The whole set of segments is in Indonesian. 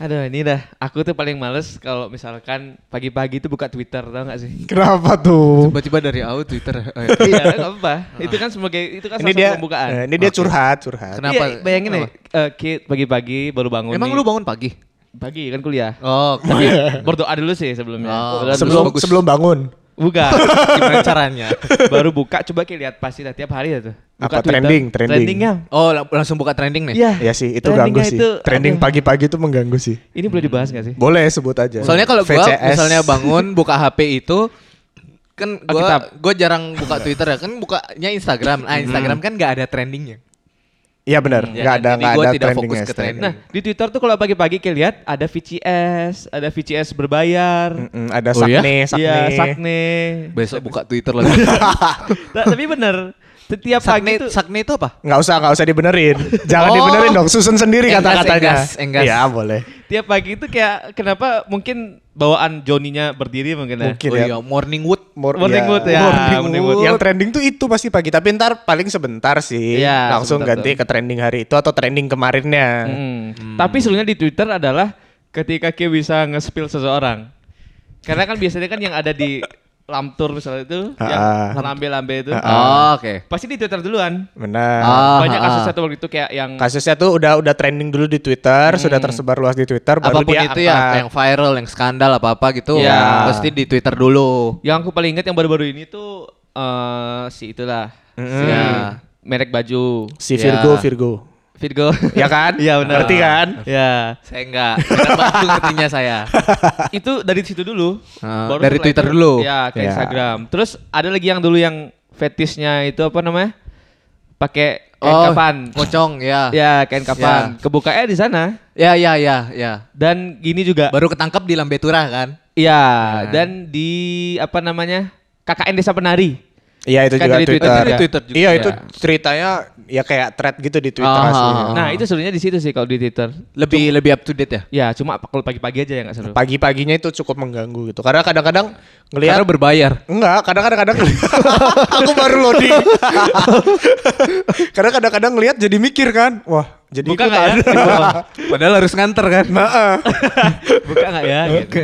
ini dah, aku tuh paling males kalau misalkan pagi-pagi tuh buka Twitter tau gak sih? Kenapa tuh? Tiba-tiba dari AU Twitter. eh, iya, gak apa. Itu kan sebagai itu kan Ini salah satu dia pembukaan. eh, ini dia ya. curhat, curhat. Kenapa? Iya, bayangin nih, eh, Kit pagi-pagi baru bangun. Emang nih. lu bangun pagi? pagi kan kuliah. Oh, Tapi berdoa dulu sih sebelumnya. Oh. Berdoa dulu. sebelum bagus. sebelum bangun. buka. gimana caranya? baru buka coba ki lihat pasti dah, tiap hari ya tuh. Buka Apa, trending, trending. Trendingnya. Oh, la- langsung buka trending nih. Iya. Ya sih, itu ganggu Trendingnya sih. itu, Trending aduh. pagi-pagi itu mengganggu sih. Ini boleh dibahas gak sih? Boleh sebut aja. Soalnya kalau gua VCS. misalnya bangun buka HP itu kan Oh, gua kitab. gua jarang buka Twitter ya, kan bukanya Instagram. Ah, Instagram kan nggak ada trendingnya. Iya benar, Hmm, ya nggak kan? ada Jadi nggak gua ada tidak fokus trendingnya. ke trending. Nah, di Twitter tuh kalau pagi-pagi kayak lihat ada VCS, ada VCS berbayar. Mm-mm, ada Oh, iya? sakne, sakne. Iya, Sakne. Besok buka Twitter lagi. gitu? Ta- Tapi bener, setiap pagi Sakne, tuh Sakne itu apa? Nggak usah, nggak usah dibenerin. Jangan Oh. dibenerin dong, susun sendiri Enggas, kata-katanya. enggas, enggas. Iya, boleh. tiap pagi itu kayak kenapa mungkin bawaan Joninya berdiri mungkin ya. Mungkin Oh ya. iya, Morning Wood. Mor- Morning iya. wood ya, Morning morning wood. wood. Yang trending tuh itu pasti pagi, tapi ntar paling sebentar sih. Iya, Langsung sebentar ganti ke trending hari itu atau trending kemarinnya. Hmm. Tapi sebenarnya di Twitter adalah ketika Ki bisa nge-spill seseorang. Karena kan biasanya kan yang ada di lamtur misalnya itu, yang Ah. lambe-lambe itu. Oh, oke. Pasti di Twitter duluan. Benar. Ah, Banyak ah, kasus ah. satu waktu itu kayak yang Kasusnya tuh udah udah trending dulu di Twitter, sudah tersebar luas di Twitter, baru Apapun dia itu ya, angkat. yang viral, yang skandal apa-apa gitu, Iya. pasti di Twitter dulu. yang aku paling ingat yang baru-baru ini tuh eh si itulah. Si Ya. merek baju Hmm. si Virgo, Ya. Virgo. Virgo. Ya kan? Iya benar. Ngerti kan? Iya. Ya. Saya enggak, Saya bantu ngertinya saya. itu dari situ dulu. Ah, Baru dari setelah Twitter itu, dulu. Iya. Ya, ke Ya. Instagram. Terus ada lagi yang dulu yang fetishnya itu apa namanya? Pakai kain Oh. kapan? Pocong ya. Ya, kain Iya. kapan. Kebukanya di sana. Ya ya ya ya. Dan gini juga. Baru ketangkap di Lambetura kan? Iya, dan di apa namanya? KKN Desa Penari. Iya itu Kan juga dari Twitter. Twitter juga. Twitter juga. Iya itu Ya. ceritanya ya kayak thread gitu di Twitter Ah. aslinya. Ah. Nah, itu sebenarnya di situ sih kalau di Twitter. Lebih lebih up to date ya. Ya, cuma kalau pagi-pagi aja ya nggak seru. Pagi-paginya itu cukup mengganggu gitu. Karena kadang-kadang Karena ngelihat berbayar. Enggak, kadang-kadang kadang aku baru loading. Karena kadang-kadang ngelihat jadi mikir kan, wah jadi Buka nggak ikutan. ya? Iya. Padahal harus nganter kan. Nah, Buka nggak ya? Gitu.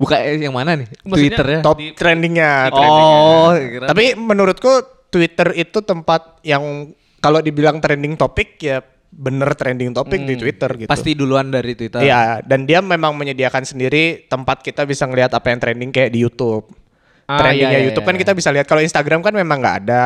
Buka eh, yang mana nih? Maksudnya- Twitter ya. eh, top trendingnya. Oh, kira- Tapi menurutku Twitter itu tempat yang kalau dibilang trending topik ya bener trending topik di Twitter gitu. pasti duluan dari Twitter. Iya, dan dia memang menyediakan sendiri tempat kita bisa ngelihat apa yang trending kayak di YouTube. Ah, Trendingnya iya, iya, YouTube iya, kan kita bisa lihat. Kalau Instagram kan memang nggak ada.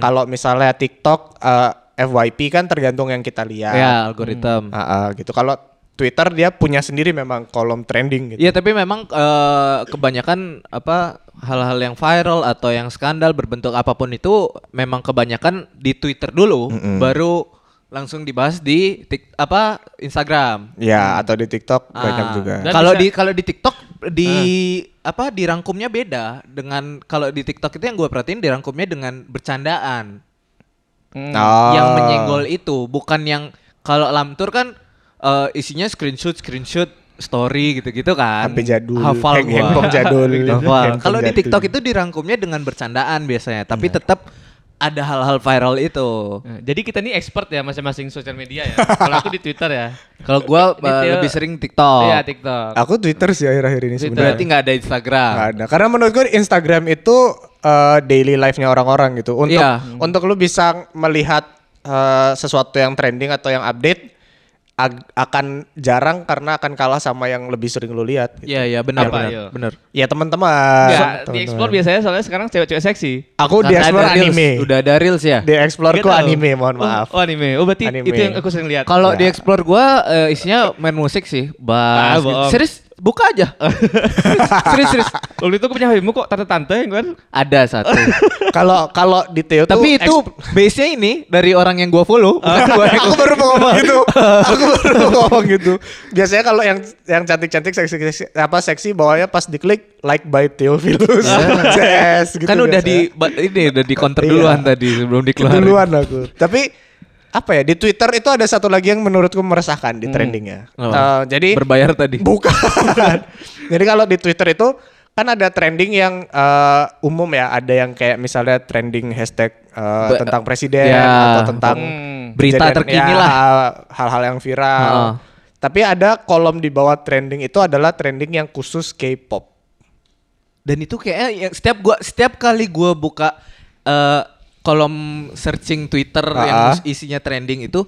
Kalau misalnya TikTok, eh, FYP kan tergantung yang kita lihat. Ya, algoritma. Ah, ah, gitu. Kalau Twitter dia punya sendiri memang kolom trending gitu. Iya, tapi memang eh, kebanyakan apa hal-hal yang viral atau yang skandal berbentuk apapun itu memang kebanyakan di Twitter dulu, baru langsung dibahas di Tik- apa Instagram. Ya, atau di TikTok banyak Ah. juga. Dan Kalau bisa- Ah. di kalau di TikTok di apa dirangkumnya beda dengan kalau di TikTok itu yang gue perhatiin dirangkumnya dengan bercandaan Hmm. Nah. Oh. yang menyenggol itu bukan yang kalau lamtur kan eh, isinya screenshot screenshot story gitu-gitu kan. HP jadul, hand- Hafal gua. handphone jadul, Hafal. handphone Kalau jadul. di Iya. TikTok itu dirangkumnya dengan bercandaan biasanya, tapi tetap ada hal-hal viral itu. Nah, Jadi kita nih expert ya masing-masing sosial media ya. Kalau aku di Twitter ya. Kalau gua eh, Detail. lebih sering Oh. TikTok. Iya, TikTok. Aku Twitter sih akhir-akhir ini Twitter. sebenarnya. Berarti nggak ada Instagram. Nggak ada. Karena menurut gue Instagram itu eh, daily life-nya orang-orang gitu. Untuk Iya. untuk lu bisa melihat eh, sesuatu yang trending atau yang update ag- akan jarang karena akan kalah sama yang lebih sering lu lihat. Gitu. Iya, iya benar Apa, benar. yuk? Benar. Enggak, Ya teman-teman. di explore Teman-teman. biasanya soalnya sekarang cewek-cewek seksi. Aku di Karena explore ada reels. anime. Udah ada reels ya. Di explore Nggak ku tahu. anime, mohon Oh, maaf. Oh, anime. Oh, berarti Anime. itu yang aku sering lihat. Kalau Ya. di explore gua eh, isinya main musik sih. Ah, Bas. gitu. bohong. serius, buka aja. serius, serius. Waktu itu aku punya HP-mu kok tante-tante yang kan. Ada satu. Kalau kalau di Theo tuh Tapi itu exp- base-nya ini dari orang yang gua follow, bukan gua yang- aku baru mau ngomong gitu. Aku baru mau ngomong gitu. Biasanya kalau yang yang cantik-cantik seksi, seksi apa seksi bawahnya pas diklik like by Theophilus. CS gitu. kan udah biasanya. di ba- ini udah di counter duluan Iya. tadi sebelum dikeluarin. duluan aku. Tapi apa ya di Twitter itu ada satu lagi yang menurutku meresahkan Hmm. di trendingnya. Eh, Oh. jadi berbayar tadi. Iya. Bukan. Jadi kalau di Twitter itu kan ada trending yang eh, umum ya, ada yang kayak misalnya trending hashtag eh, Ba- tentang presiden Ya. atau tentang Hmm. Berita kejadian- terkini ya, lah. hal-hal yang viral. Heeh. Tapi ada kolom di bawah trending itu adalah trending yang khusus K-pop. Dan itu kayaknya yang setiap gua setiap kali gua buka eh, kolom searching Twitter yang Ah. isinya trending itu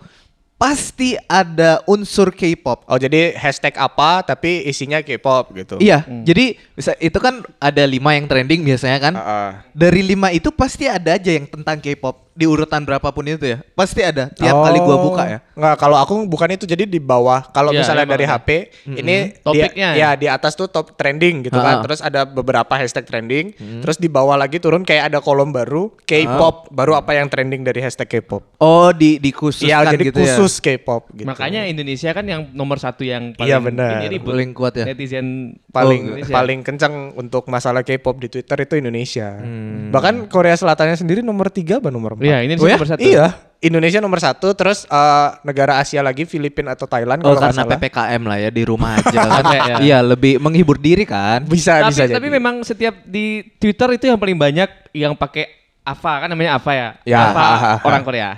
pasti ada unsur K-pop. Oh jadi hashtag apa tapi isinya K-pop gitu. Iya, jadi bisa- itu kan ada lima yang trending biasanya kan. Heeh. Dari lima itu pasti ada aja yang tentang K-pop di urutan berapapun itu ya. Pasti ada tiap Oh. kali gua buka ya. Nggak, kalau aku bukan itu jadi di bawah. Kalau Iya, misalnya iya, dari makanya. HP ini di- Topiknya ya? ya di atas tuh top trending gitu kan. Ah. Terus ada beberapa hashtag trending, terus di bawah lagi turun kayak ada kolom baru K-pop, baru apa yang trending dari hashtag K-pop. Oh, di dikhususkan Iya, kan jadi gitu ya. khusus K-pop gitu. Makanya Indonesia kan yang nomor satu yang paling Iya, benar. ini ribut. Paling kuat ya. Netizen paling Oh, Indonesia. paling kencang untuk masalah K-pop di Twitter itu Indonesia. Bahkan Korea Selatannya sendiri nomor 3 apa nomor 4? Hmm. Iya, ini Oh ya? nomor satu. Iya, Indonesia nomor satu, terus eh, negara Asia lagi Filipina atau Thailand Oh, kalau nggak karena salah. PPKM lah ya di rumah aja kan. Iya. Iya, lebih menghibur diri kan. Bisa Tapi, bisa jadi. tapi memang setiap di Twitter itu yang paling banyak yang pakai Ava kan namanya Ava ya. Ya, Ava ha, ha, ha. orang Korea.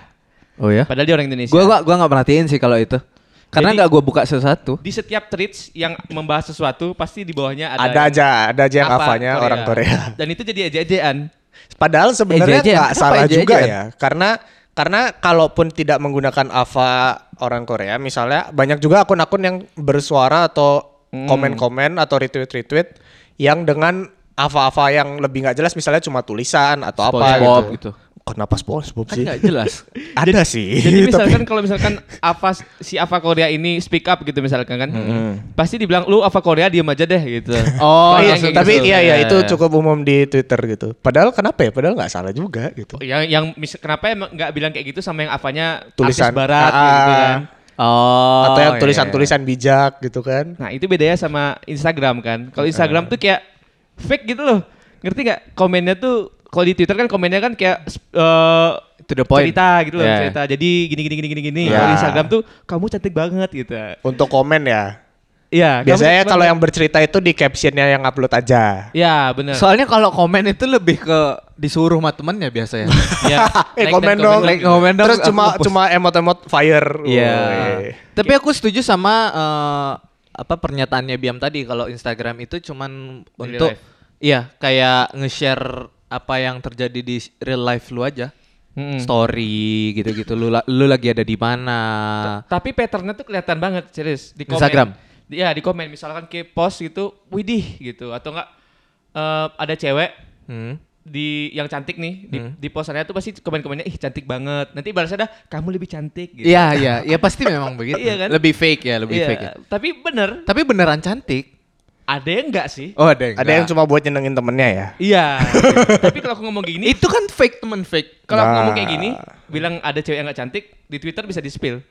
Oh ya. Padahal dia orang Indonesia. Gua gua gua nggak perhatiin sih kalau itu. Karena Jadi- nggak gua buka satu-satu. di setiap tweets yang membahas sesuatu pasti di bawahnya ada ada yang aja, ada aja yang Ava avanya orang Korea. Dan itu jadi eja-ejaan. Padahal sebenarnya Ejean, nggak kenapa salah ejean? juga ya, karena karena kalaupun tidak menggunakan Ava orang Korea, misalnya banyak juga akun-akun yang bersuara atau komen-komen atau retweet-retweet yang dengan Ava-Ava yang lebih nggak jelas, misalnya cuma tulisan atau apa SpongeBob gitu. gitu. Kenapa SpongeBob Kan sih? nggak jelas. Ada sih. Gitu. Jadi Iya, tapi- misalkan kalau misalkan Ava si Ava Korea ini speak up gitu misalkan kan. Pasti dibilang lu Ava Korea diem aja deh gitu. Pasti Oh, iya, yang kayak tapi gitu. iya iya Iya, itu iya. cukup umum di Twitter gitu. Padahal kenapa ya? Padahal nggak salah juga gitu. yang yang mis- kenapa emang nggak bilang kayak gitu sama yang Avanya Tulisan artis barat Ah, gitu kan. Oh. Atau yang iya, iya. tulisan-tulisan bijak gitu kan. Nah, itu bedanya sama Instagram kan. Kalau Ah. Instagram tuh kayak fake gitu loh. Ngerti nggak? Komennya tuh kalau di Twitter kan komennya kan kayak eh, To the point. cerita gitu loh, Yeah. cerita. Jadi gini gini gini gini gini. Ya. Kalau di Instagram tuh kamu cantik banget gitu. Untuk komen ya. Nah, Iya, kamu Biasanya cantik kalau banget. yang bercerita itu di captionnya yang upload aja. Ya, benar. Soalnya kalau komen itu lebih ke disuruh sama temennya biasanya. Iya. Ya, eh like dan komen dong. like, komen dong, Terus aku cuma ngepost. cuma emot-emot fire. Iya. Woi. Tapi aku setuju sama eh, apa pernyataannya Biam tadi kalau Instagram itu cuman Daily untuk life. iya kayak nge-share apa yang terjadi di real life lu aja. Mm-mm. Story gitu-gitu lu la- lu lagi ada di mana. Tapi patternnya tuh kelihatan banget, serius. Di komen. Instagram? Di- Iya, di komen misalkan kayak post gitu, widih gitu atau enggak eh, ada cewek Hmm. di yang cantik nih di, di posternya tuh pasti komen-komennya ih cantik banget. Nanti balasnya dah kamu lebih cantik gitu. Iya, iya, ya pasti memang begitu. Iya kan? Lebih fake ya, lebih Iya, fake. ya. Tapi bener Tapi beneran cantik. ada yang enggak sih? Oh, ada yang Ada yang cuma buat nyenengin temennya ya. Iya. tapi kalau aku ngomong kayak gini, itu kan fake temen fake. kalau aku ngomong Nah. kayak gini, bilang ada cewek yang enggak cantik di Twitter bisa di spill.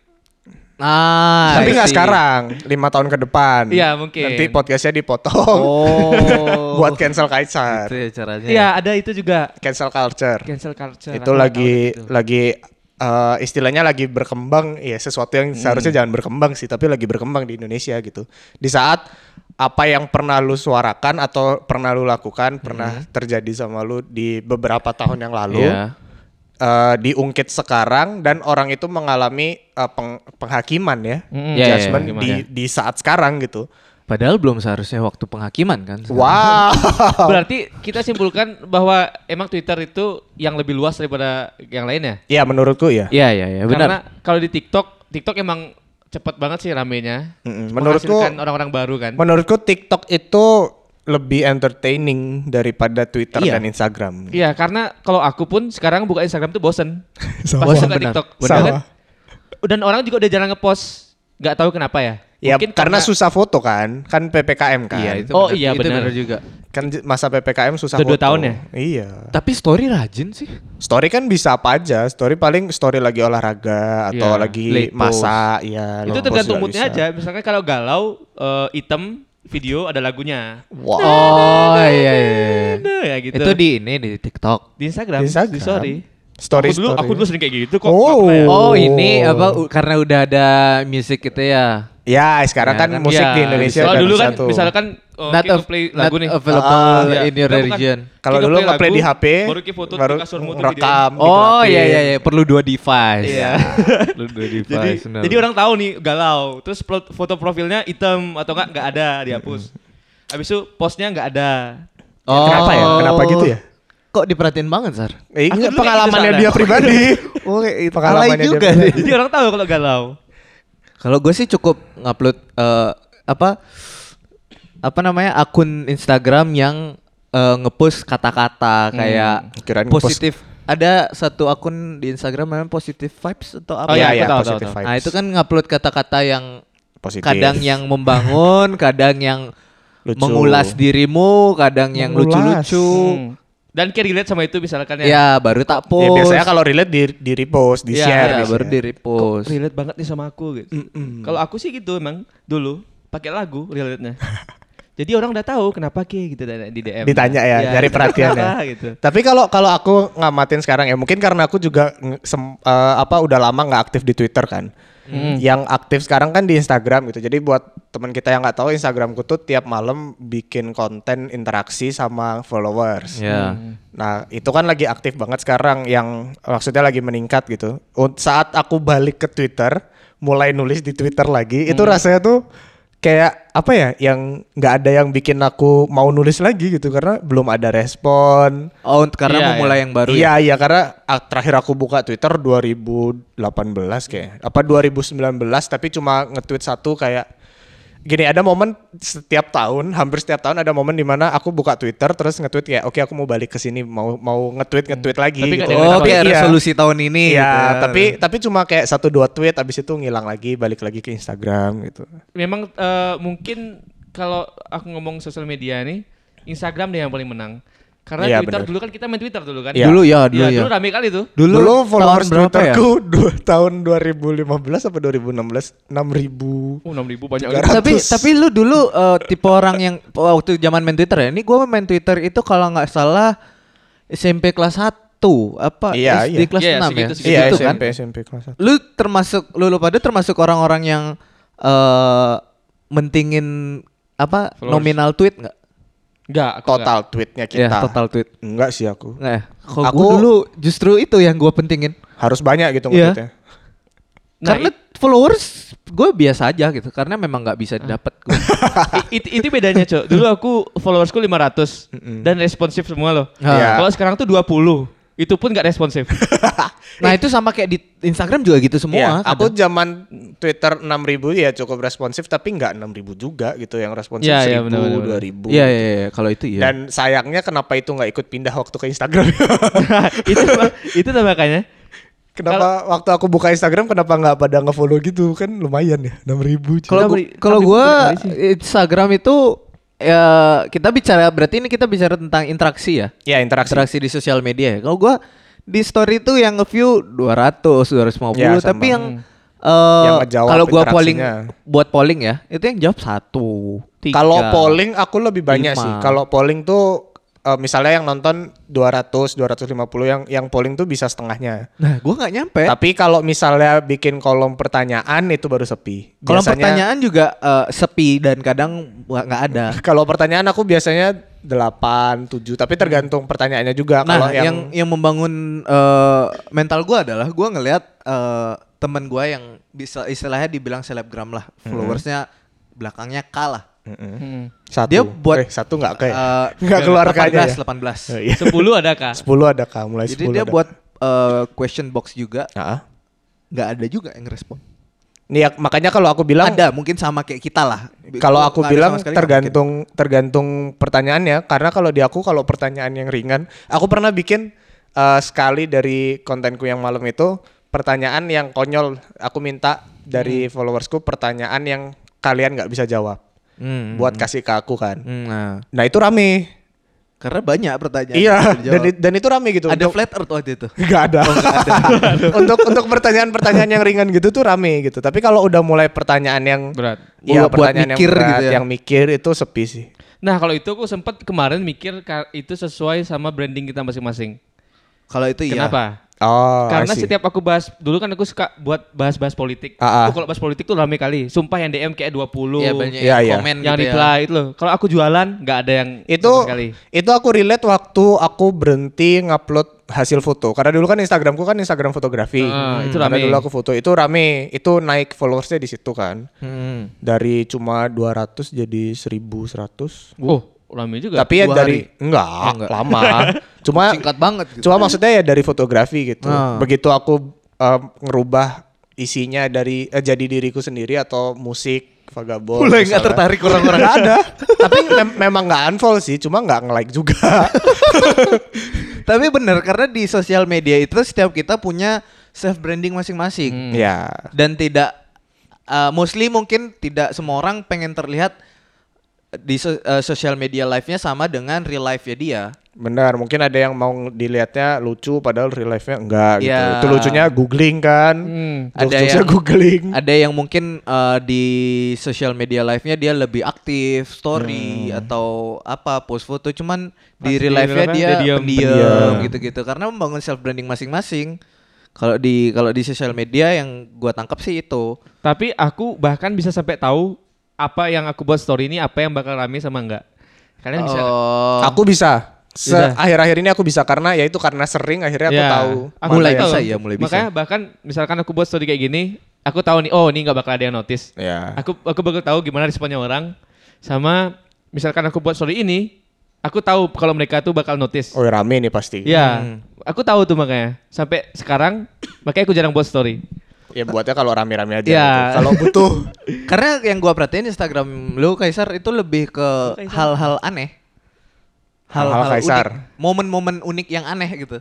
Ah, Tapi I nggak see. sekarang, lima tahun ke depan. Iya, mungkin. Nanti podcastnya dipotong Oh. buat cancel Kaisar, Itu ya caranya. Iya, ada itu juga cancel culture. cancel culture. itu Aku nggak lagi tahu gitu. itu. lagi eh, istilahnya lagi berkembang ya sesuatu yang seharusnya Hmm. jangan berkembang sih tapi lagi berkembang di Indonesia gitu di saat apa yang pernah lu suarakan atau pernah lu lakukan pernah terjadi sama lu di beberapa tahun yang lalu Hmm. Iya. eh, diungkit sekarang dan orang itu mengalami eh, peng- penghakiman ya Mm-mm. Iya, iya, judgment iya, di di saat sekarang gitu Padahal belum seharusnya waktu penghakiman kan. wow Oh. Berarti kita simpulkan bahwa emang Twitter itu yang lebih luas daripada yang lainnya. ya menurutku ya Iya iya iya benar. Karena kalau di TikTok, TikTok emang cepet banget sih ramenya. Mm-mm. Menurutku- Menghasilkan orang-orang baru kan. menurutku TikTok itu lebih entertaining daripada Twitter Iya. dan Instagram Iya, karena kalau aku pun sekarang buka Instagram tuh bosen. Sama. Pas buka Benar, TikTok. benar. Ya Sama. kan? Dan orang juga udah jarang ngepost. Gak tahu kenapa ya. Ya karena, susah foto kan, kan ppkm kan. Iya itu. Oh benar- iya, itu benar. juga. Kan j- masa ppkm susah Udah dua foto. tahun ya? Iya. Tapi story rajin sih. Story kan bisa apa aja. Story paling story lagi olahraga Iya, atau lagi late masak. Iya. itu late post tergantung juga moodnya bisa. aja. Misalkan kalau galau, eh, item, video ada lagunya. Wow. Oh iya iya. iya. Nah, ya gitu. Itu di ini di TikTok. Di Instagram, Di Instagram. di story. Story, aku dulu, story. aku dulu sering kayak gitu kok. Oh. nggak pernah ya. Oh, ini apa u- karena udah ada music gitu ya. Ya, sekarang Ya, kan kan? musik Ya, di Indonesia Kalau udah dulu kan bersatu. misalkan oh, Not, kita av- play not lagu nih. available Ah, in your Nah, bukan. region. Kalau Kita dulu play nge-play di lagu, HP, baru kita foto di kasurmu tuh rekam. Oh digelapin. iya iya iya perlu dua device. Iya. perlu dua device. Jadi, benar. jadi orang tahu nih galau. Terus pro- foto profilnya hitam atau enggak enggak ada dihapus. Habis itu postnya enggak ada. Oh. Kenapa ya? Kenapa gitu ya? Kok diperhatiin banget, Sar? Eh, Aku enggak, dulu kayak pengalamannya gitu dia pribadi. iya, Oh, itu Pengalamannya dia juga beda. deh. Jadi orang tahu kalau galau. Kalau gue sih cukup ngupload eh, apa apa namanya akun Instagram yang eh, ngepost kata-kata kayak Hmm, kirain ngepost. positif. Ada satu akun di Instagram namanya positive vibes atau Oh, apa? iya, Aku iya, tahu, positive tahu, tahu. vibes. Nah itu kan ngupload kata-kata yang Positif. kadang yang membangun, kadang yang Lucu. mengulas dirimu, kadang yang Mengulas. Hmm. lucu-lucu. Hmm. Dan kayak relate sama itu misalkan ya. Ya baru tak post. Ya, biasanya kalau relate di, di repost, di Iya, share. iya, biasanya. baru di repost. Relate banget nih sama aku gitu. Kalau aku sih gitu emang dulu pakai lagu relate-nya. Jadi orang udah tahu kenapa Ki gitu dan- di DM. ditanya ya, iya, dari perhatian ya. gitu. Tapi kalau kalau aku ngamatin sekarang ya mungkin karena aku juga nge- sem- eh, apa udah lama nggak aktif di Twitter kan. Hmm. Yang aktif sekarang kan di Instagram gitu. Jadi buat teman kita yang nggak tahu Instagramku tuh tiap malam bikin konten interaksi sama followers. Ya. Nah, itu kan lagi aktif banget sekarang yang maksudnya lagi meningkat gitu. Un- Saat aku balik ke Twitter, mulai nulis di Twitter lagi, itu rasanya tuh kayak apa ya yang nggak ada yang bikin aku mau nulis lagi gitu karena belum ada respon. Oh karena Iya, mau mulai iya. yang baru. ya? iya, iya karena ah, terakhir aku buka Twitter 2018 kayak apa 2019 tapi cuma nge-tweet satu kayak gini ada momen setiap tahun hampir setiap tahun ada momen dimana aku buka Twitter terus nge-tweet kayak oke aku mau balik ke sini mau mau nge-tweet nge-tweet lagi Tapi nggak ada yang Oh kayak Iya. resolusi tahun ini. Iya, gitu tapi tapi cuma kayak satu dua tweet abis itu ngilang lagi balik lagi ke Instagram gitu. Memang eh, mungkin kalau aku ngomong sosial media nih, Instagram deh yang paling menang. Karena Iya, Twitter bener. dulu kan kita main Twitter dulu kan. Iya. Dulu Iya, ya, dulu ya. dulu rame kali tuh. Dulu, tahun followers berapa ya? Twitterku dua, tahun 2015 apa 2016 6000 Oh, 6000 banyak. Tiga banget. ratus. Tapi tapi lu dulu eh, tipe orang yang waktu zaman main Twitter ya. Ini gua main Twitter itu kalau nggak salah SMP kelas 1 apa Iya, SD iya. kelas Iya, 6 ya. segitu- segitu Iya Segitu kan. SMP SMP kelas satu. Lu termasuk lu, lu pada termasuk orang-orang yang eh mentingin apa Followers. nominal tweet nggak? Enggak, aku total tweetnya Ya, kita. total tweet. Enggak sih aku. Nah, kalau Aku- gua dulu justru itu yang gua pentingin. Harus banyak gitu Iya. nge-tweetnya. Nah, karena followers gue biasa aja gitu karena memang nggak bisa dapet gua. I- it- itu bedanya, Cok. Dulu aku followersku 500 dan responsif semua loh. Iya. Kalau sekarang tuh 20. Itu pun gak responsif. nah itu sama kayak di Instagram juga gitu semua Iya, aku kadang. zaman Twitter 6000 ya cukup responsif tapi enggak 6000 juga gitu yang responsif Iya, iya, 1000 benar, benar, benar. 2000. iya iya iya kalau itu iya Dan sayangnya kenapa itu nggak ikut pindah waktu ke Instagram? itu itu tuh makanya. kenapa waktu aku buka Instagram kenapa nggak pada nge-follow gitu? Kan lumayan ya 6000. cuy. kalau Kita gua- beri- kalau tapi gue bukan dari Instagram itu ya kita bicara berarti ini kita bicara tentang interaksi ya ya interaksi. interaksi di sosial media ya kalau gue di story itu yang nge-view 200 250 Ya, sama. tapi yang Yang eh ngejawab kalau gua polling interaksinya. buat polling ya itu yang jawab satu tiga. Kalau polling aku lebih banyak lima. sih. Kalau polling tuh eh, misalnya yang nonton 200 250 yang yang polling tuh bisa setengahnya. nah gue nggak nyampe Tapi kalau misalnya bikin kolom pertanyaan itu baru sepi. Kolom Biasanya- pertanyaan juga eh, sepi dan kadang wa- nggak ada. Nah, Kalau pertanyaan aku biasanya 8, 7, tapi tergantung pertanyaannya juga. kalau Nah, yang, yang membangun eh, mental gua adalah gua ngelihat eh, temen gua yang bisa istilahnya dibilang selebgram lah, Mm-hmm. followersnya belakangnya kalah. Hmm. satu. Hmm. dia eh, buat- satu nggak kayak Eh, nggak keluar kayaknya. 18, ya? 18. Oh, iya. 10 ada kah? 10 ada kak, mulai Jadi 10 dia ada. buat eh, question box juga Nah, nggak ada juga yang respon. nih ya, makanya kalau aku bilang Ada mungkin sama kayak kita lah. kalau aku Nggak ada bilang sama sekali, tergantung tergantung pertanyaannya karena kalau di aku kalau pertanyaan yang ringan aku pernah bikin eh, sekali dari kontenku yang malam itu pertanyaan yang konyol aku minta dari Hmm. followersku pertanyaan yang kalian nggak bisa jawab nggak mungkin. Hmm. buat kasih ke aku kan Hmm, nah, nah itu rame karena banyak pertanyaan. iya yang bisa dan, dijawab. dan itu rame gitu ada Oh, untuk- flat earth waktu itu. Gak ada. untuk untuk pertanyaan-pertanyaan yang ringan gitu tuh rame gitu. Tapi kalau udah mulai pertanyaan yang Berat. Iya, Buat- buat pertanyaan mikir yang berat, gitu ya. yang mikir itu sepi sih. Nah, kalau itu aku sempat kemarin mikir ka- itu sesuai sama branding kita masing-masing. Kalau itu iya. Kenapa? Oh, Karena I see. setiap aku bahas dulu kan aku suka buat bahas-bahas politik. Ah, ah. Aku kalau bahas politik tuh rame kali. Sumpah yang DM kayak 20. Iya banyak Iya, yang iya. komen yang gitu ya. reply itu loh. Kalau aku jualan nggak ada yang itu sama sekali. itu aku relate waktu aku berhenti ngupload hasil foto karena dulu kan Instagramku kan Instagram fotografi Ah, Hmm. itu karena rame. dulu aku foto itu rame itu naik followersnya di situ kan Hmm. dari cuma 200 jadi 1100 Oh, rame juga. tapi ya Dua Eh, dari enggak, enggak. lama cuma Singkat banget gitu. cuma maksudnya ya dari fotografi gitu Ah. begitu aku em, ngerubah isinya dari eh, jadi diriku sendiri atau musik vagabond Mulai misalnya. nggak tertarik orang-orang. Nggak ada. Tapi mem- memang nggak unfollow sih, cuma nggak nge-like juga. Tapi bener karena di sosial media itu setiap kita punya self branding Hmm. masing-masing ya. dan tidak uh, mostly mungkin tidak semua orang pengen terlihat di so- uh, sosial media live-nya sama dengan real life-nya dia. Benar, mungkin ada yang mau dilihatnya lucu padahal real life-nya enggak gitu. Ya. Itu lucunya googling kan. Hmm. Ada Ada yang yang- googling. Ada yang mungkin uh, di sosial media live-nya dia lebih aktif, story atau apa post foto, cuman di Pas di real life-nya real life dia Hmm. dia diam. pendiam Pendiam. gitu-gitu. Karena membangun self branding masing-masing. Kalau di kalau di sosial media yang gua tangkap sih itu. Tapi aku bahkan bisa sampai tahu apa yang aku buat story ini apa yang bakal rame sama enggak. Kalian bisa nggak? Oh. Aku bisa. Se- Bisa. Akhir-akhir ini aku bisa karena ya itu karena sering akhirnya aku Ya, tahu. aku Mulai tahu. bisa ya, mulai bisa. Makanya bahkan misalkan aku buat story kayak gini, aku tahu nih oh ini nggak bakal ada yang notice. Iya. Ya. Aku aku bakal tahu gimana responnya orang sama misalkan aku buat story ini, aku tahu kalau mereka tuh bakal notice. Oh, rame nih pasti. Ya, Hmm. aku tahu tuh makanya. Sampai sekarang makanya aku jarang buat story. Ya buatnya kalau rame-rame aja. Ya. gitu. Kalau butuh Ah. Karena yang gua perhatiin Instagram lu Kaisar itu lebih ke hal-hal aneh. Hal-hal Kaisar. Ah. unik, momen-momen unik yang aneh gitu.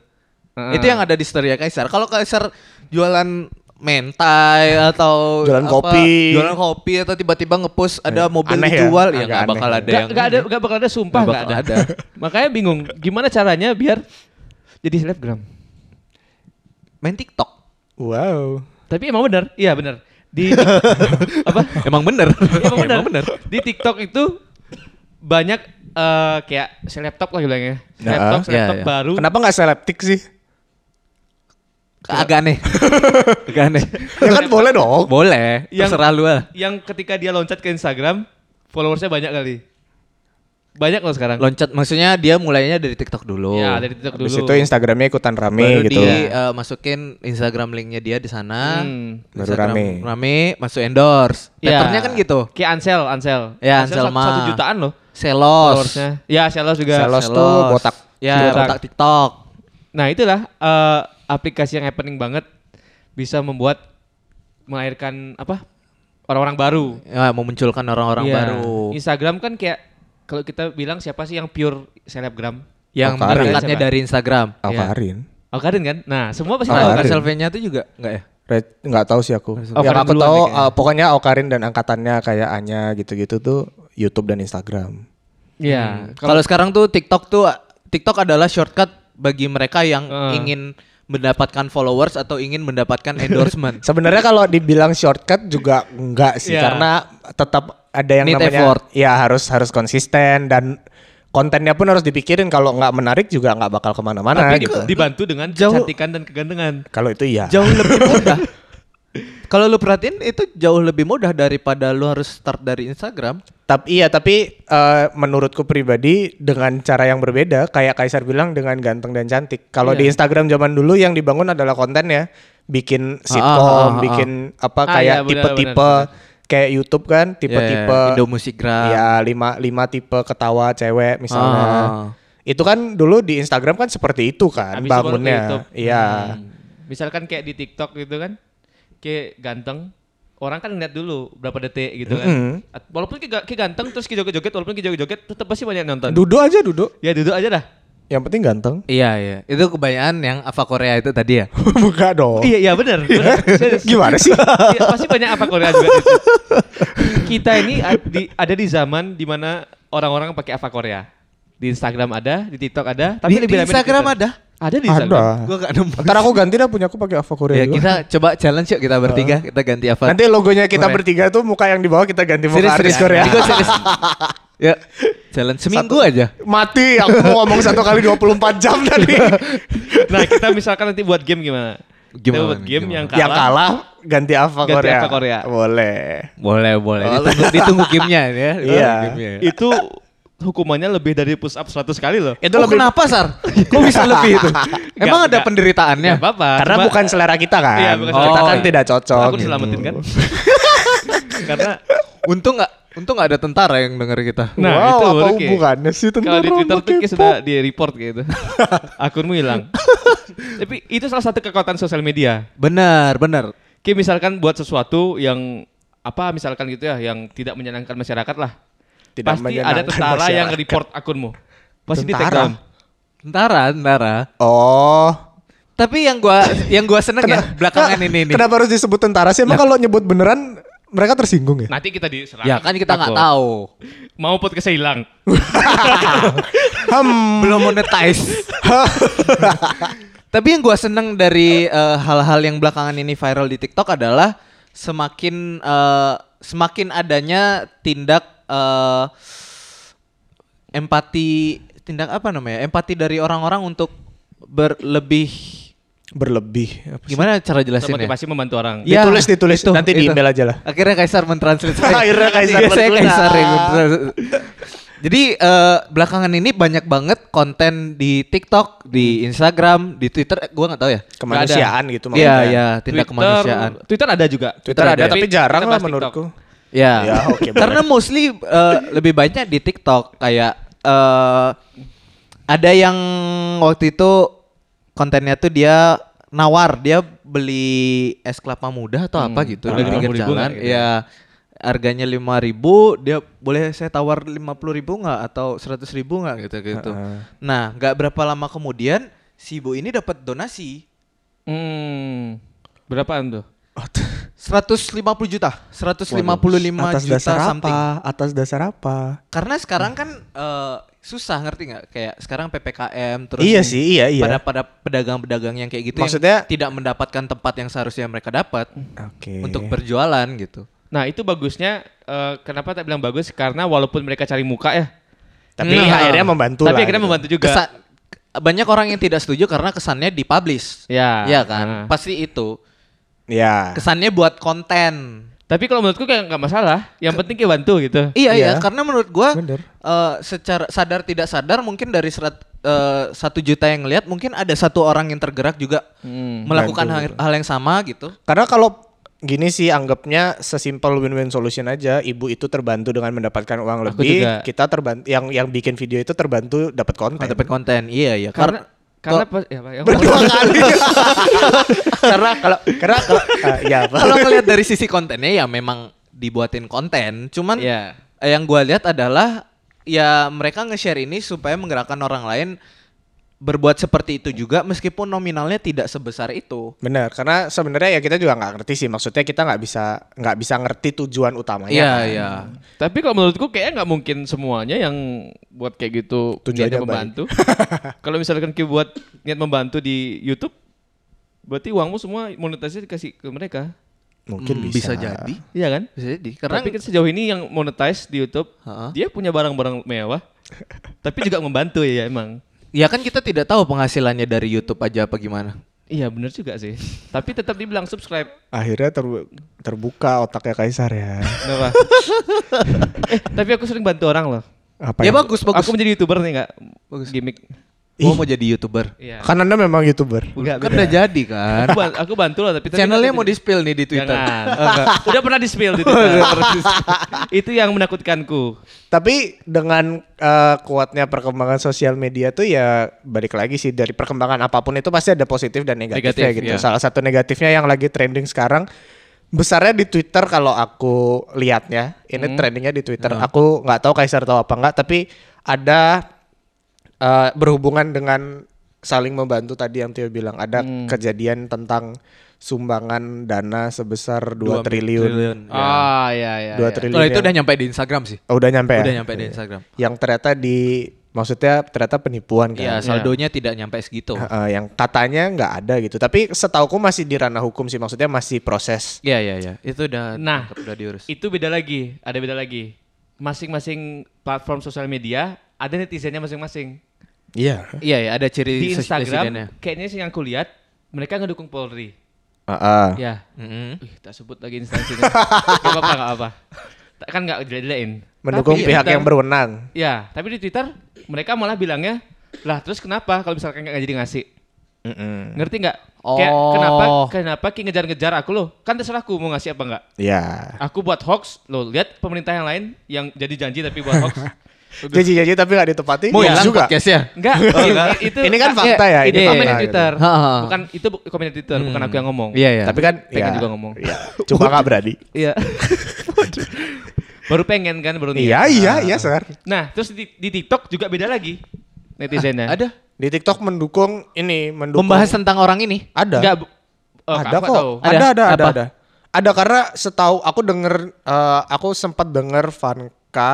Heeh. Itu yang ada di story Kaisar. Kalau Kaisar jualan mentai atau Jualan apa, kopi. jualan kopi atau tiba-tiba ngepost ada Eh, mobil aneh ya? dijual Agak ya nggak aneh. bakal Gak, ada yang gak ada, gak bakal ada sumpah gak, Nggak bakal ada. ada. Makanya bingung, gimana caranya biar jadi selebgram? main TikTok. wow. Tapi emang benar, iya benar. Di apa? Emang bener. Iya, Emang benar. Di TikTok itu banyak eh, kayak selebtop lah bilangnya. Selebtop, Nah, selebtop iya, iya. baru. Kenapa nggak selektif sih? Agak aneh. Agak aneh. Ya kan boleh dong. Boleh, Yang- terserah lu lah. Yang ketika dia loncat ke Instagram, followersnya banyak kali. Banyak loh sekarang. Loncat maksudnya dia mulainya dari TikTok dulu. Ya, dari TikTok dulu. Habis itu Instagramnya ikutan rame baru gitu. di eh, masukin Instagram linknya dia di sana Hmm. Baru Instagram rame. masuk endorse Ya. patternnya kan gitu Kayak Ansel, Ansel. Ya, Ansel satu, satu mah. jutaan loh. selos followersnya. Ya, Selos juga. Selos. tuh botak. Iya. ya Botak. botak, TikTok Nah, itulah eh, aplikasi yang happening banget bisa membuat melahirkan apa? orang-orang baru. ya, memunculkan orang-orang Iya. baru Instagram kan kayak kalau kita bilang siapa sih yang pure selebgram? yang Alvarin. berangkatnya Siapa? dari Instagram Oh, Alvarin. Alkarin kan? Nah, semua pasti Alkarin. tahu Nah, kan? selfie-nya tuh juga enggak ya Red nggak tahu sih aku. Alkarin yang aku duluan tahu ya kayaknya. uh, pokoknya Okarin dan angkatannya kayak Anya gitu-gitu tuh YouTube dan Instagram. Iya. kalau sekarang tuh TikTok tuh TikTok adalah shortcut bagi mereka yang Eh. ingin mendapatkan followers atau ingin mendapatkan endorsement Sebenarnya kalau dibilang shortcut juga enggak sih Iya. karena tetap ada yang Need namanya effort. ya harus harus konsisten dan kontennya pun harus dipikirin kalau nggak menarik juga nggak bakal kemana-mana Tapi gitu. dibantu dengan Jauh- kecantikan dan kegantengan. Kalau itu iya. jauh lebih mudah. Kalau lu perhatiin itu jauh lebih mudah daripada lu harus start dari Instagram. Tapi iya, tapi eh, menurutku pribadi dengan cara yang berbeda, kayak Kaisar bilang dengan ganteng dan cantik. Kalau Iya. di Instagram zaman dulu yang dibangun adalah kontennya, bikin sitkom, ah, ah, bikin apa Ah, kayak iya, benar, tipe-tipe benar, Iya, kayak YouTube kan, tipe-tipe Ya, Indo Musikgram. ya lima lima tipe ketawa cewek misalnya. Ah. Itu kan dulu di Instagram kan seperti itu kan Habis itu baru ke YouTube. Hmm. bangunnya. Iya. Misalkan kayak di TikTok gitu kan, kayak ganteng, orang kan ngeliat dulu berapa detik gitu kan. Mm-mm. At- Walaupun kayak ga- kayak ganteng terus kayak joget-joget, walaupun kayak joget-joget tetap pasti banyak yang nonton. Duduk aja duduk. Ya duduk aja dah. Yang penting ganteng. Iya, iya. Itu kebanyakan yang Ava Korea itu tadi ya. Buka dong. Iya iya benar. benar. Serius. Gimana sih? Iya, pasti banyak apa Korea juga gitu. Kita ini ad- di- ada di zaman dimana orang-orang pakai apa Korea. Di Instagram ada, di TikTok ada, tapi Di- lebih di rame Instagram Twitter. ada? Ada di Instagram. Ada. Gua gak nemu. Ntar aku ganti dah punya aku pakai Ava Korea. Ya juga. kita coba challenge yuk kita bertiga, kita ganti Ava. Nanti logonya kita Korea. bertiga tuh muka yang di bawah kita ganti muka serius artis serius Korea. Ini gua serius. Ya, challenge seminggu aja. Mati aku mau ngomong satu kali 24 jam tadi. Nah kita misalkan nanti buat game gimana? Kita Gimana buat nih, game gimana? yang kalah. Yang Ya kalah ganti Ava Ganti Korea. Ava Korea. Boleh. Boleh, boleh. Ditunggu, ditunggu gamenya ini ya. Ditunggu Iya. gamenya. Itu hukumannya lebih dari push up 100 kali loh. Itu Oh, lebih kenapa Sar? Kok bisa lebih itu? Nggak- Emang ada nggak- penderitaannya? Oh, Nggak apa-apa. karena cuma- bukan selera kita kan. Ah, Iya, bukan selera kita kita. kan Oh, tidak cocok. Aku gitu. diselamatin kan. Karena Untung nggak untung nggak ada tentara yang denger kita. Nah, Wow, itu apa baru kayak- hubungannya sih kalau di tentara Twitter sama tuh kayak K-pop? sudah di report gitu. Akunmu hilang. Tapi itu salah satu kekuatan sosial media. Benar, benar. Kayak misalkan buat sesuatu yang apa misalkan gitu ya yang tidak menyenangkan masyarakat lah. Tidak Pasti ada menyenangkan tentara yang masyarakat. report akunmu. Pasti di take Tentara? down. Tentara, tentara. Oh. Tapi yang gua yang gua seneng ya belakangan ini nih. Kenapa harus disebut tentara sih? Emang kalau nyebut beneran mereka tersinggung ya? Nanti kita diserang. Ya kan kita nggak Takut. tahu. Mau podcast saya hilang. Hmm. Belum monetize. Tapi yang gua seneng dari eh, hal-hal yang belakangan ini viral di TikTok adalah semakin eh, semakin adanya tindak eh, empati tindak apa namanya? Empati dari orang-orang untuk berlebih Berlebih. Apa sih? gimana cara jelasin ya? Motivasi membantu orang. Iya. Ditulis, ditulis. Nanti di email aja lah. Akhirnya Kaisar mentranslate. saya. Akhirnya Kaisar Iya, saya berguna. Kaisar yang mentranslate. Jadi eh, belakangan ini banyak banget konten di TikTok, di Instagram, di Twitter, eh, gua nggak tahu ya. Kemanusiaan gitu Iya, maksudnya. iya, tindak kemanusiaan. Twitter ada juga. Twitter ada, tapi jarang kita lah bahas menurutku. Iya. Ya, oke, boleh. Karena mostly eh, lebih banyak di TikTok kayak eh ada yang waktu itu kontennya tuh dia nawar, dia beli es kelapa muda atau Hmm. Ah, apa gitu udah di pinggir 50.000 jalan. ya. nggak gitu? Iya. Harganya 5000 dia boleh saya tawar 50000 nggak atau 100000 nggak gitu gitu. Heeh. Nah, nggak berapa lama kemudian si ibu ini dapat donasi Hmm. Berapaan tuh? Oh, t- 150 juta, 155 atas juta dasar something. apa? Atas dasar apa? Karena sekarang kan eh, susah ngerti nggak kayak sekarang ppkm terus Iya sih, iya, iya. pada pada pedagang-pedagang yang kayak gitu Maksudnya- Iya. yang tidak mendapatkan tempat yang seharusnya mereka dapat Oke. untuk berjualan gitu. Nah itu bagusnya, eh, kenapa tak bilang bagus? Karena walaupun mereka cari muka ya, Tapi Nah. akhirnya membantu tapi lah. akhirnya gitu. membantu juga. Kesa- banyak orang yang tidak setuju karena kesannya dipublish. Ya. Iya kan? Ah. Pasti itu. Iya. Kesannya buat konten. Tapi kalau menurutku kayak nggak masalah, yang penting kayak bantu gitu. Iya Iya. iya karena menurut gua Bener. eh, secara sadar tidak sadar mungkin dari serat, eh, satu juta yang lihat mungkin ada satu orang yang tergerak juga Hmm. melakukan hal, hal yang sama gitu. Karena kalau gini sih anggapnya sesimpel win-win solution aja. Ibu itu terbantu dengan mendapatkan uang Aku lebih, juga. kita terbantu yang yang bikin video itu terbantu dapat konten. Oh, Dapat konten. Iya iya Karena karena Kar- kok- kan? pas, ya, Pak, ya, Berdua kali. karena kalau karena kalau ah, ya apa? kalau ngelihat dari sisi kontennya ya memang dibuatin konten, cuman Iya. eh, yang gua lihat adalah ya mereka nge-share ini supaya menggerakkan orang lain berbuat seperti itu juga meskipun nominalnya tidak sebesar itu. Benar, karena sebenarnya ya kita juga nggak ngerti sih. Maksudnya kita nggak bisa nggak bisa ngerti tujuan utamanya. Iya kan. iya. Tapi kalau menurutku kayaknya nggak mungkin semuanya yang buat kayak gitu Tujuannya niatnya baik. membantu. kalau misalkan kayak buat niat membantu di YouTube, berarti uangmu semua monetisasi dikasih ke mereka, Mungkin Hmm, bisa. jadi. iya kan? Bisa jadi karena Tapi kan sejauh ini yang monetize di YouTube, Ha-ha. dia punya barang-barang mewah, tapi juga membantu ya emang. Ya kan kita tidak tahu penghasilannya dari YouTube aja apa gimana. Iya bener juga sih. Tapi tetap dibilang subscribe. Akhirnya terbu- terbuka otaknya Kaisar ya. Kenapa? eh, tapi aku sering bantu orang loh. Apa ya yang- bagus bagus. Aku menjadi youtuber nih nggak? Bagus. Gimik. Gua mau jadi YouTuber. Iya. Kan Anda memang YouTuber. Enggak, kan beda. udah jadi kan. Aku, ban- aku bantu lah tapi tapi Channelnya nanti- mau di-spill nih di Twitter. Oh, Jangan. udah pernah di spill di Twitter. Itu yang menakutkanku. Tapi dengan eh, kuatnya perkembangan sosial media tuh ya balik lagi sih dari perkembangan apapun itu pasti ada positif dan negatifnya Negatif, gitu. iya. Salah satu negatifnya yang lagi trending sekarang besarnya di Twitter kalau aku lihatnya. Ini trendingnya di Twitter. Aku nggak tahu Kaisar tahu apa nggak tapi ada eh, berhubungan dengan saling membantu tadi yang Tio bilang ada kejadian tentang sumbangan dana sebesar 2 triliun. Iya. Ah ya ya. Dua ya. triliun. Kalau Oh, itu yang- udah nyampe di Instagram sih. Oh, udah nyampe ya? Udah nyampe di Instagram. yang ternyata di maksudnya ternyata penipuan Iya, kan. saldonya tidak nyampe segitu. Heeh, yang katanya nggak ada gitu. Tapi setauku masih di ranah hukum sih maksudnya masih proses. Iya, iya, iya. Itu udah Nah. udah diurus. Itu beda lagi, ada beda lagi. masing-masing platform sosial media ada netizennya masing-masing. Iya. Iya ya, ada ciri Di sos- presidennya. Instagram kayaknya sih yang kulihat mereka ngedukung Polri. Heeh. Ya. Mm-mm. Ih, tak sebut lagi instansinya. gak apa-apa, gak apa. Kan gak jelek-jelekin. Mendukung Tapi pihak Twitter- yang berwenang. Ya, tapi di Twitter mereka malah bilangnya, lah terus kenapa kalau misalkan nggak jadi ngasih? Ngerti nggak? Kayak Oh. kenapa kenapa Ki ngejar-ngejar aku loh? Kan terserah aku mau ngasih apa enggak. Iya. Aku buat hoax, lo lihat pemerintah yang lain yang jadi janji tapi buat hoax. Janji-janji tapi nggak ditepati. Mau Iya hilang juga. podcastnya? Enggak, i- i- itu Oh, Ini kan fakta ya, Itu ini komen di fakta gitu. Twitter. Ha, ha, ha. Bukan itu bu- komen di Twitter, bukan aku yang ngomong. Iya ya. Tapi kan Pengen juga ngomong. Iya. Cuma nggak berani. Iya. baru pengen kan baru niat. Iya, iya, iya, Sir. Nah, terus di, di TikTok juga beda lagi Ah, netizennya. ada Di TikTok mendukung ini, mendukung membahas tentang orang ini. ada. Enggak, bu- oh, ada Kak, kok. tahu. Ada, Ada? ada, ada, Apa? ada. Ada karena setahu aku denger eh, aku sempat denger Vanka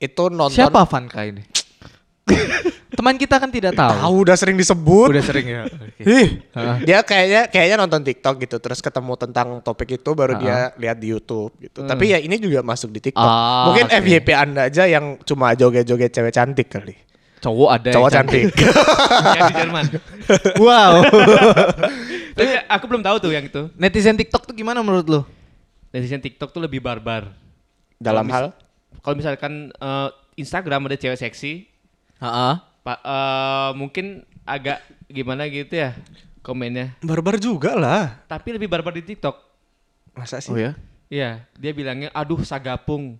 itu nonton Siapa Vanka ini? Teman kita kan tidak tahu. Tahu udah sering disebut. Udah sering ya. Oke. Ih, dia kayaknya kayaknya nonton TikTok gitu, terus ketemu tentang topik itu baru dia lihat di YouTube gitu. Tapi ya ini juga masuk di TikTok. Ah, Mungkin oke. FYP Anda aja yang cuma joget-joget cewek cantik kali. Cowok ada. yang Cowok cantik. yang di Jerman. wow. Tapi aku belum tahu tuh yang itu. Netizen TikTok tuh gimana menurut lu? Netizen TikTok tuh lebih barbar. Dalam Kalau hal mis- Kalau misalkan eh, Instagram ada cewek seksi, Heeh. pa- eh, mungkin agak gimana gitu ya komennya. barbar juga lah. Tapi lebih barbar di TikTok. Masa sih? Oh ya. Iya, dia bilangnya aduh sagapung.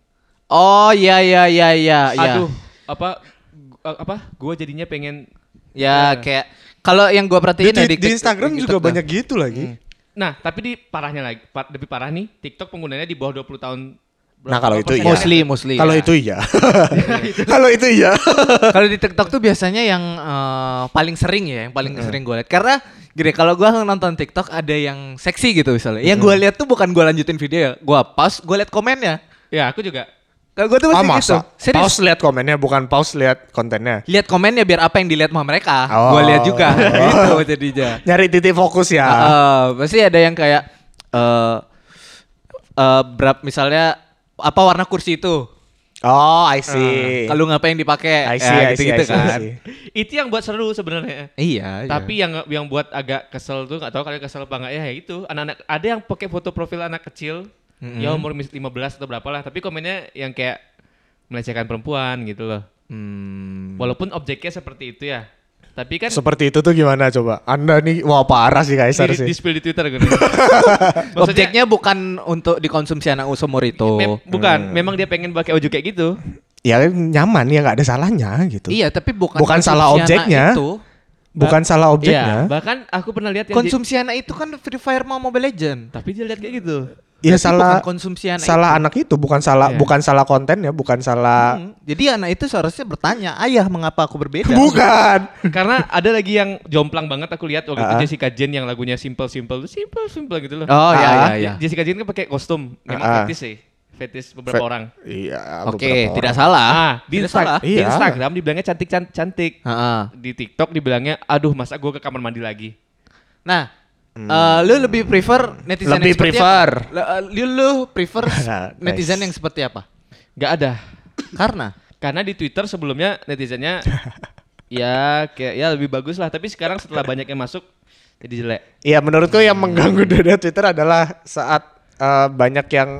Oh ya ya Ah, ya ya ya. iya. Aduh, apa gu- eh, apa gua jadinya pengen Ya kayak kalau yang gua Di, perhatiin ya Iya. di- di tik- Instagram di juga TikTok banyak gitu lagi. Nah, tapi di parahnya lagi, par- lebih parah nih, TikTok penggunanya di bawah 20 tahun. Nah, kalau itu tuh. persennya? iya. Mostly mostly. Kalau ya. itu iya. Kalau itu iya. kalau di TikTok tuh biasanya yang eh, paling sering ya, yang paling Iya. sering gue lihat. Karena gini, kalau gua nonton TikTok ada yang seksi gitu misalnya. Iya. Yang gua lihat tuh bukan gua lanjutin video ya, gua pause, gua lihat komennya. Ya, aku juga. Kalau gua tuh Ah pasti gitu. masa? Serius. Pause lihat komennya bukan pause lihat kontennya. Lihat komennya biar apa yang dilihat sama mereka. Oh. Gua lihat juga. gitu jadinya. Nyari titik fokus ya. Heeh, Eh, pasti ada yang kayak eh eh, berap misalnya apa warna kursi itu? Oh, I see. Kalau ngapain dipakai? I Ya, see, I see, gitu-gitu kan. I see, I see. Itu yang buat seru sebenarnya. Iya. iya. Tapi yang yang buat agak kesel tuh nggak tahu kalian kesel apa nggak ya ya itu anak-anak ada yang pakai foto profil anak kecil ya umur mis- 15 atau berapa lah tapi komennya yang kayak melecehkan perempuan gitu loh Hmm. walaupun objeknya seperti itu ya tapi kan Seperti itu tuh gimana coba? Anda nih wah parah sih Kaisar di, sih. display di Twitter gitu Maksudnya, Objeknya bukan untuk dikonsumsi anak seumur itu. Oh. mem- bukan Hmm. memang dia pengen pakai baju kayak gitu Ya nyaman ya nggak ada salahnya gitu. Iya, tapi bukan Bukan salah konsumsi anak objeknya. Itu. Bukan salah Iya, objeknya. bahkan aku pernah lihat yang di- Konsumsi anak itu kan Free Fire mau Mobile Legend. tapi dia lihat kayak gitu Iya Berarti salah bukan konsumsi anak salah anak itu bukan salah Iya. bukan salah kontennya, bukan salah Hmm, iya. Jadi anak itu seharusnya bertanya, "Ayah, mengapa aku berbeda?" bukan. karena ada lagi yang jomplang banget aku lihat waktu Ah. itu Jessica Jane yang lagunya simple simple simple simple gitu loh Oh, iya Ah. iya iya. Jessica Jane kan pakai kostum, memang Ah, ah. fetish sih, fetish beberapa orang. Iya, Oke, beberapa orang. tidak salah. Ah, di, tidak Insta- salah. di Iya. Instagram dibilangnya cantik can- cantik, Heeh. di TikTok dibilangnya, aduh masa gue ke kamar mandi lagi. Nah, Hmm. eh, lu lebih prefer netizen Lebih yang seperti prefer. apa? Le- eh, Lu, lu prefer Nah, nice. netizen yang seperti apa? Gak ada, Karena karena di Twitter sebelumnya netizennya ya kayak ya lebih bagus lah, tapi sekarang setelah banyak yang masuk jadi jelek. Iya, menurutku yang mengganggu dari Twitter adalah saat eh, banyak yang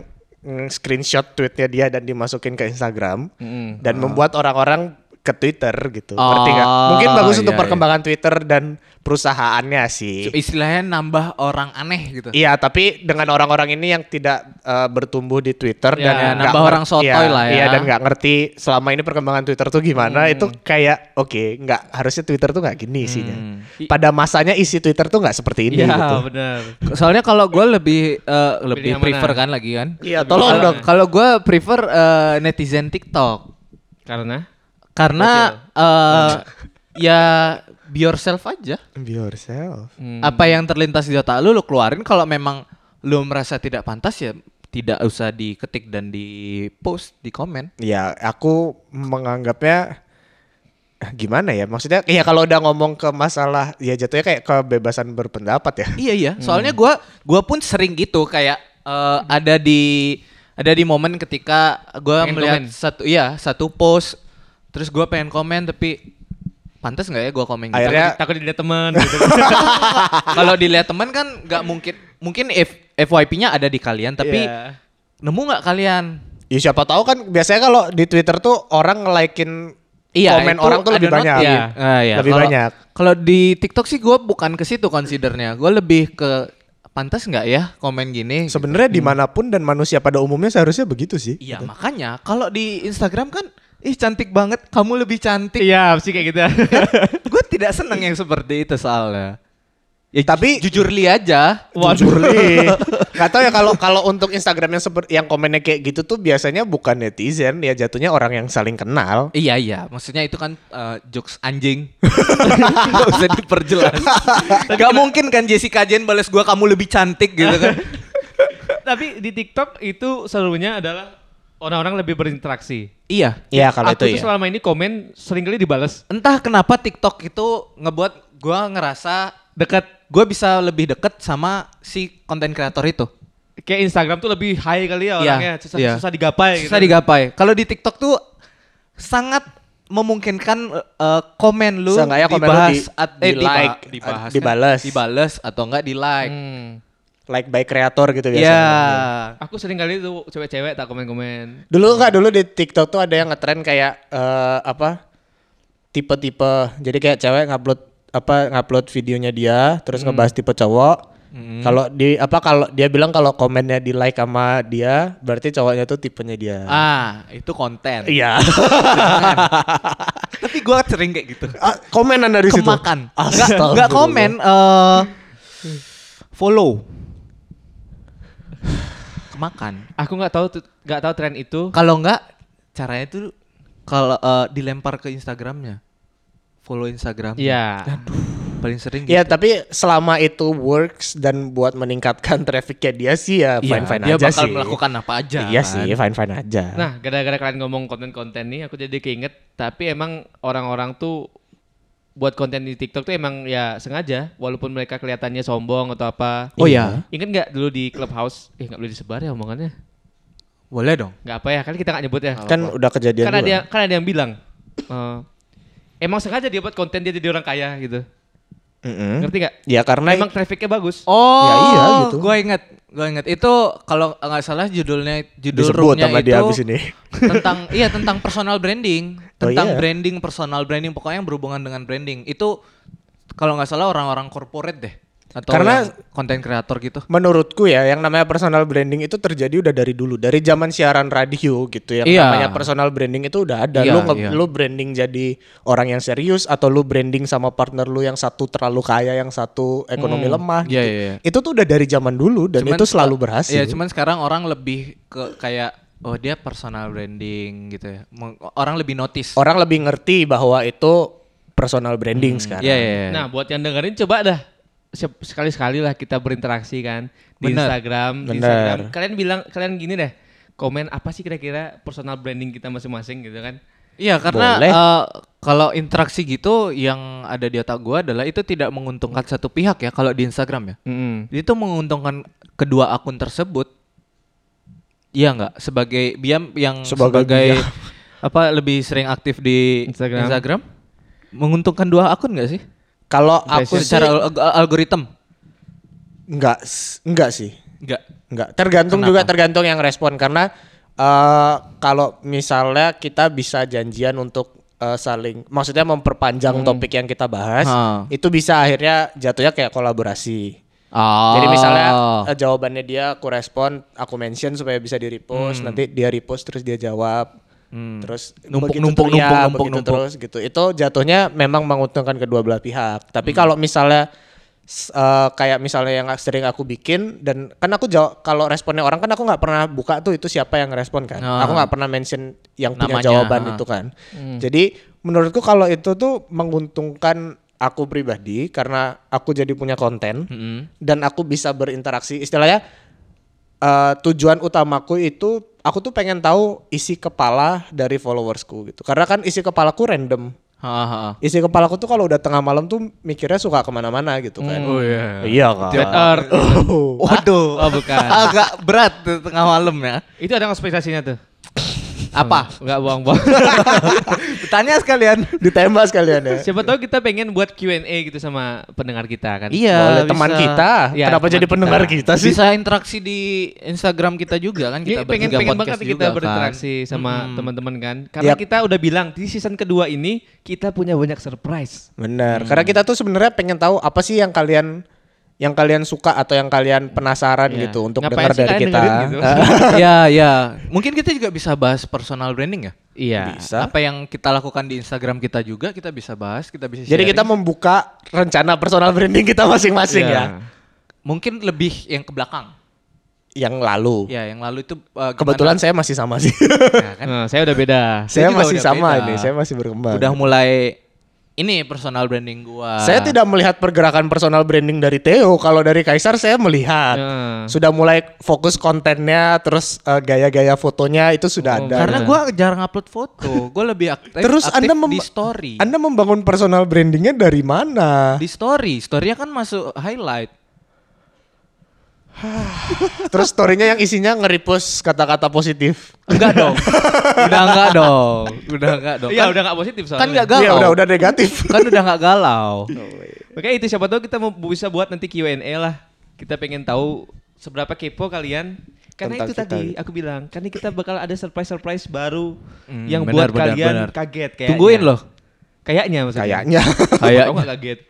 nge- screenshot tweetnya dia dan dimasukin ke Instagram Mm-mm. dan membuat orang-orang ke Twitter gitu. Ah. Oh, Ngerti nggak? Mungkin bagus untuk iya, iya. perkembangan Twitter dan perusahaannya sih. istilahnya nambah orang aneh gitu. Iya, tapi dengan orang-orang ini yang tidak eh, bertumbuh di Twitter Iya, dan iya, nggak nambah ngerti- orang sotoy iya, lah ya. Mm. Iya, dan nggak ngerti selama ini perkembangan Twitter tuh gimana, itu kayak oke, nggak harusnya Twitter tuh nggak gini isinya. Mm. Pada masanya isi Twitter tuh nggak seperti ini Iya gitu. benar. Soalnya kalau gue lebih eh, lebih yang prefer mana? kan lagi kan. Iya, tolong Kalau- dong. Kalau gue prefer eh, netizen TikTok Karena karena eh, ya be yourself aja. Be yourself. hmm, Apa yang terlintas di otak lu lu keluarin kalau memang lu merasa tidak pantas ya tidak usah diketik dan di post di komen. Ya, aku menganggapnya eh, gimana ya? Maksudnya ya kalau udah ngomong ke masalah ya jatuhnya kayak kebebasan berpendapat ya. Iya iya, soalnya gua gua pun sering gitu kayak eh, ada di ada di momen ketika gua Pengen melihat komen. satu iya satu post terus gua pengen komen tapi pantas nggak ya gua komen gitu? Akhirnya- Takut dilihat teman gitu. kalau dilihat teman kan nggak mungkin mungkin F, FYP-nya ada di kalian tapi Iya. nemu nggak kalian Ya siapa tahu kan biasanya kalau di Twitter tuh orang nge-likein komen Iya, itu orang tuh ada lebih not- banyak. iya. Ah, iya. Lebih Kalau- banyak. Kalau di TikTok sih gue bukan ke situ considernya. Gue lebih ke pantas nggak ya komen gini. Sebenarnya dimanapun dan manusia pada umumnya seharusnya begitu sih. Hmm. Iya makanya kalau di Instagram kan ih cantik banget, kamu lebih cantik. Iya, sih kayak gitu. gue tidak seneng yang seperti itu soalnya. Ya, Tapi- ju- jujur li aja. Jujur li. Gak tau ya kalau kalau untuk Instagram yang seperti yang komennya kayak gitu tuh biasanya bukan netizen ya jatuhnya orang yang saling kenal. Iya iya, maksudnya itu kan eh, jokes anjing. Gak usah diperjelas. Gak mungkin kan Jessica Jane balas gua kamu lebih cantik gitu kan. Tapi di TikTok itu serunya adalah orang-orang lebih berinteraksi. iya. Iya kalau Aku tuh itu ya. selama ini komen seringkali dibales Entah kenapa TikTok itu ngebuat gua ngerasa deket, gua bisa lebih deket sama si konten kreator itu. kayak Instagram tuh lebih high kali ya Iya, orangnya susah, iya. susah digapai Susah gitu. digapai. Kalau di TikTok tuh sangat memungkinkan eh, eh, komen lu eh, Seenggaknya komen lu dibahas di- at- di diba- like, dibahas, eh, dibales. dibales atau enggak di like. Hmm. Like by kreator gitu Iya. biasanya. Aku sering kali tuh cewek-cewek tak komen-komen. Dulu nggak dulu di TikTok tuh ada yang ngetren kayak eh, apa tipe-tipe. Jadi kayak cewek ngupload apa ngupload videonya dia, terus Hmm. ngebahas tipe cowok. Kalau di apa kalau dia bilang kalau komennya di like sama dia, berarti cowoknya tuh tipenya dia. Ah, itu konten. Iya. Tapi gua sering kayak gitu. Ah, komenan dari situ. Kemakan. Nggak Astagfirullah. nggak komen eh follow. Kemakan. Aku nggak tahu tuh- nggak tahu tren itu. Kalau nggak caranya tuh kalau eh, dilempar ke Instagramnya. Follow Instagram. Iya. Paling sering gitu. Ya tapi selama itu works dan buat meningkatkan trafficnya dia sih ya Iya, fine fine dia aja bakal sih. melakukan apa aja. Iya kan. sih fine fine aja. Nah, gara-gara kalian ngomong konten-konten nih, aku jadi keinget. Tapi emang orang-orang tuh buat konten di TikTok tuh emang ya sengaja, walaupun mereka kelihatannya sombong atau apa. Oh iya. Ingat nggak dulu di Clubhouse? Eh nggak boleh disebar ya omongannya. Boleh dong. Nggak apa ya, kali kita nggak nyebut ya. kan udah kejadian Karena dulu. dia, karena ada yang bilang, eh, emang sengaja dia buat konten dia jadi orang kaya gitu. Mm-mm. Ngerti nggak? Ya karena Emang trafficnya bagus. Oh, Ya iya gitu. Gue inget, gue inget itu kalau nggak salah judulnya judul disebut roomnya sama itu dia habis ini. tentang iya tentang personal branding, Oh, iya. tentang branding personal branding pokoknya yang berhubungan dengan branding itu kalau nggak salah orang-orang corporate deh atau Karena- yang konten kreator gitu. Menurutku ya yang namanya personal branding itu terjadi udah dari dulu, dari zaman siaran radio gitu yang Iya. namanya personal branding itu udah ada. Iya, lu nge- iya. lu branding jadi orang yang serius atau lu branding sama partner lu yang satu terlalu kaya, yang satu ekonomi lemah Iya, gitu. iya, iya. Itu tuh udah dari zaman dulu dan Cuman- itu selalu berhasil. Iya, cuman sekarang orang lebih ke kayak oh dia personal branding gitu ya. Meng- Orang lebih notice. Orang lebih ngerti bahwa itu personal branding sekarang. Iya, iya. iya. Nah, buat yang dengerin coba dah Sep- sekali-sekali lah kita berinteraksi kan di Bener. Instagram, di Bener. Instagram. Kalian bilang kalian gini deh, komen apa sih kira-kira personal branding kita masing-masing gitu kan? Iya karena Boleh. eh, kalau interaksi gitu yang ada di otak gua adalah itu tidak menguntungkan satu pihak ya kalau di Instagram ya. Itu menguntungkan kedua akun tersebut. Iya nggak sebagai Biam yang Sebagai sebagai, Biam. apa lebih sering aktif di Instagram. Instagram, menguntungkan dua akun nggak sih? Kalau aku Iya, secara Secara al- al- algoritm enggak s- enggak sih. nggak. Enggak, tergantung juga tergantung yang respon karena eh kalau misalnya kita bisa janjian untuk eh, saling maksudnya memperpanjang topik yang kita bahas, Ha. itu bisa akhirnya jatuhnya kayak kolaborasi. Ah. Jadi misalnya eh, jawabannya dia aku respon, aku mention supaya bisa di repost, nanti dia repost terus dia jawab. Terus Numpuk, begitu numpuk, ter- ya, numpuk, numpuk, begitu numpuk. terus gitu. Itu jatuhnya memang menguntungkan kedua belah pihak. Tapi kalau Hmm. misalnya s- eh, kayak misalnya yang sering aku bikin dan kan aku jawab kalau responnya orang kan aku nggak pernah buka tuh itu siapa yang ngerespon kan. Ah. Aku nggak pernah mention yang punya Namanya, jawaban ah. itu kan. Jadi menurutku kalau itu tuh menguntungkan aku pribadi karena aku jadi punya konten Mm-mm. dan aku bisa berinteraksi. Istilahnya eh, tujuan utamaku itu aku tuh pengen tahu isi kepala dari followersku gitu. Karena kan isi kepalaku random. Ha, ha, ha. Isi kepalaku tuh kalau udah tengah malam tuh mikirnya suka kemana-mana gitu kan. Hmm. Oh iya. Iya kan. Jet Earth. Oh. Waduh. eh, Oh, bukan. Agak berat tuh tengah malam ya. Itu ada konspirasinya tuh. Apa? Enggak bohong-bohong. Tanya sekalian. Ditembak sekalian ya. Siapa tahu kita pengen buat Q&A gitu sama pendengar kita kan. Boleh Iya, teman bisa. kita. Ya, Kenapa teman jadi kita. pendengar kita sih? Bisa interaksi di Instagram kita juga kan kita Ini Iya, pengen bertiga pengen banget podcast juga kita kan. berinteraksi sama teman-teman kan. Karena Yap. kita udah bilang di season kedua ini kita punya banyak surprise. Benar. Karena Hmm. kita tuh sebenarnya pengen tahu apa sih yang kalian yang kalian suka atau yang kalian penasaran Iya. gitu untuk Ngapain dengar sih dari kalian kita. dengerin gitu? Iya, iya. Mungkin kita juga bisa bahas personal branding ya. Iya. Bisa. Apa yang kita lakukan di Instagram kita juga kita bisa bahas, kita bisa Jadi Iya. kita sharing. membuka rencana personal branding kita masing-masing Iya. ya. mungkin lebih yang ke belakang. Yang lalu. Ya, yang lalu itu uh, gimana- Kebetulan saya masih sama sih. Ya, kan? Nah, saya udah beda. saya juga masih udah sama beda. ini, saya masih berkembang. udah mulai ini personal branding gua. Saya tidak melihat pergerakan personal branding dari Theo. Kalau dari Kaisar saya melihat Ya. sudah mulai fokus kontennya, terus eh, gaya-gaya fotonya itu Oh, sudah ada. karena gua jarang upload foto, gua lebih aktif, terus aktif Anda mem- di story. Anda membangun personal brandingnya dari mana? Di story, story kan masuk highlight. terus storynya yang isinya nge-repost kata-kata positif. Enggak dong. udah enggak dong. Udah enggak dong. Iya, kan, udah gak positif soalnya. kan enggak galau. Iya udah udah negatif. Kan udah enggak galau. Oke, itu siapa tahu kita mau bisa buat nanti Q&A lah. Kita pengen tahu seberapa kepo kalian. Karena Tentang itu kita tadi gitu. aku bilang, karena kita bakal ada surprise-surprise baru Hmm, yang buat benar, benar, kalian benar. kaget kayaknya. Tungguin loh. Kayaknya maksudnya. Kayaknya. Kayaknya. Kayaknya. kaget.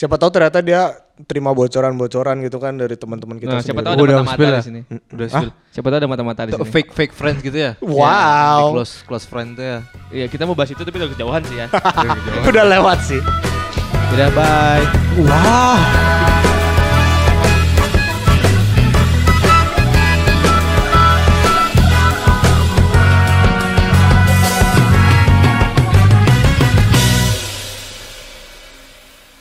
siapa tahu ternyata dia terima bocoran-bocoran gitu kan dari teman-teman kita Nah, siapa sendiri. tahu Udah ada mata-mata spill ya? di sini. Udah Hah? spill. Siapa tahu ada mata-mata di Tuh, sini. Fake fake friends gitu ya. Wow. Ya, di close close friend tuh ya. Iya, kita mau bahas itu tapi udah kejauhan sih ya. udah lewat sih. Udah bye. Wow.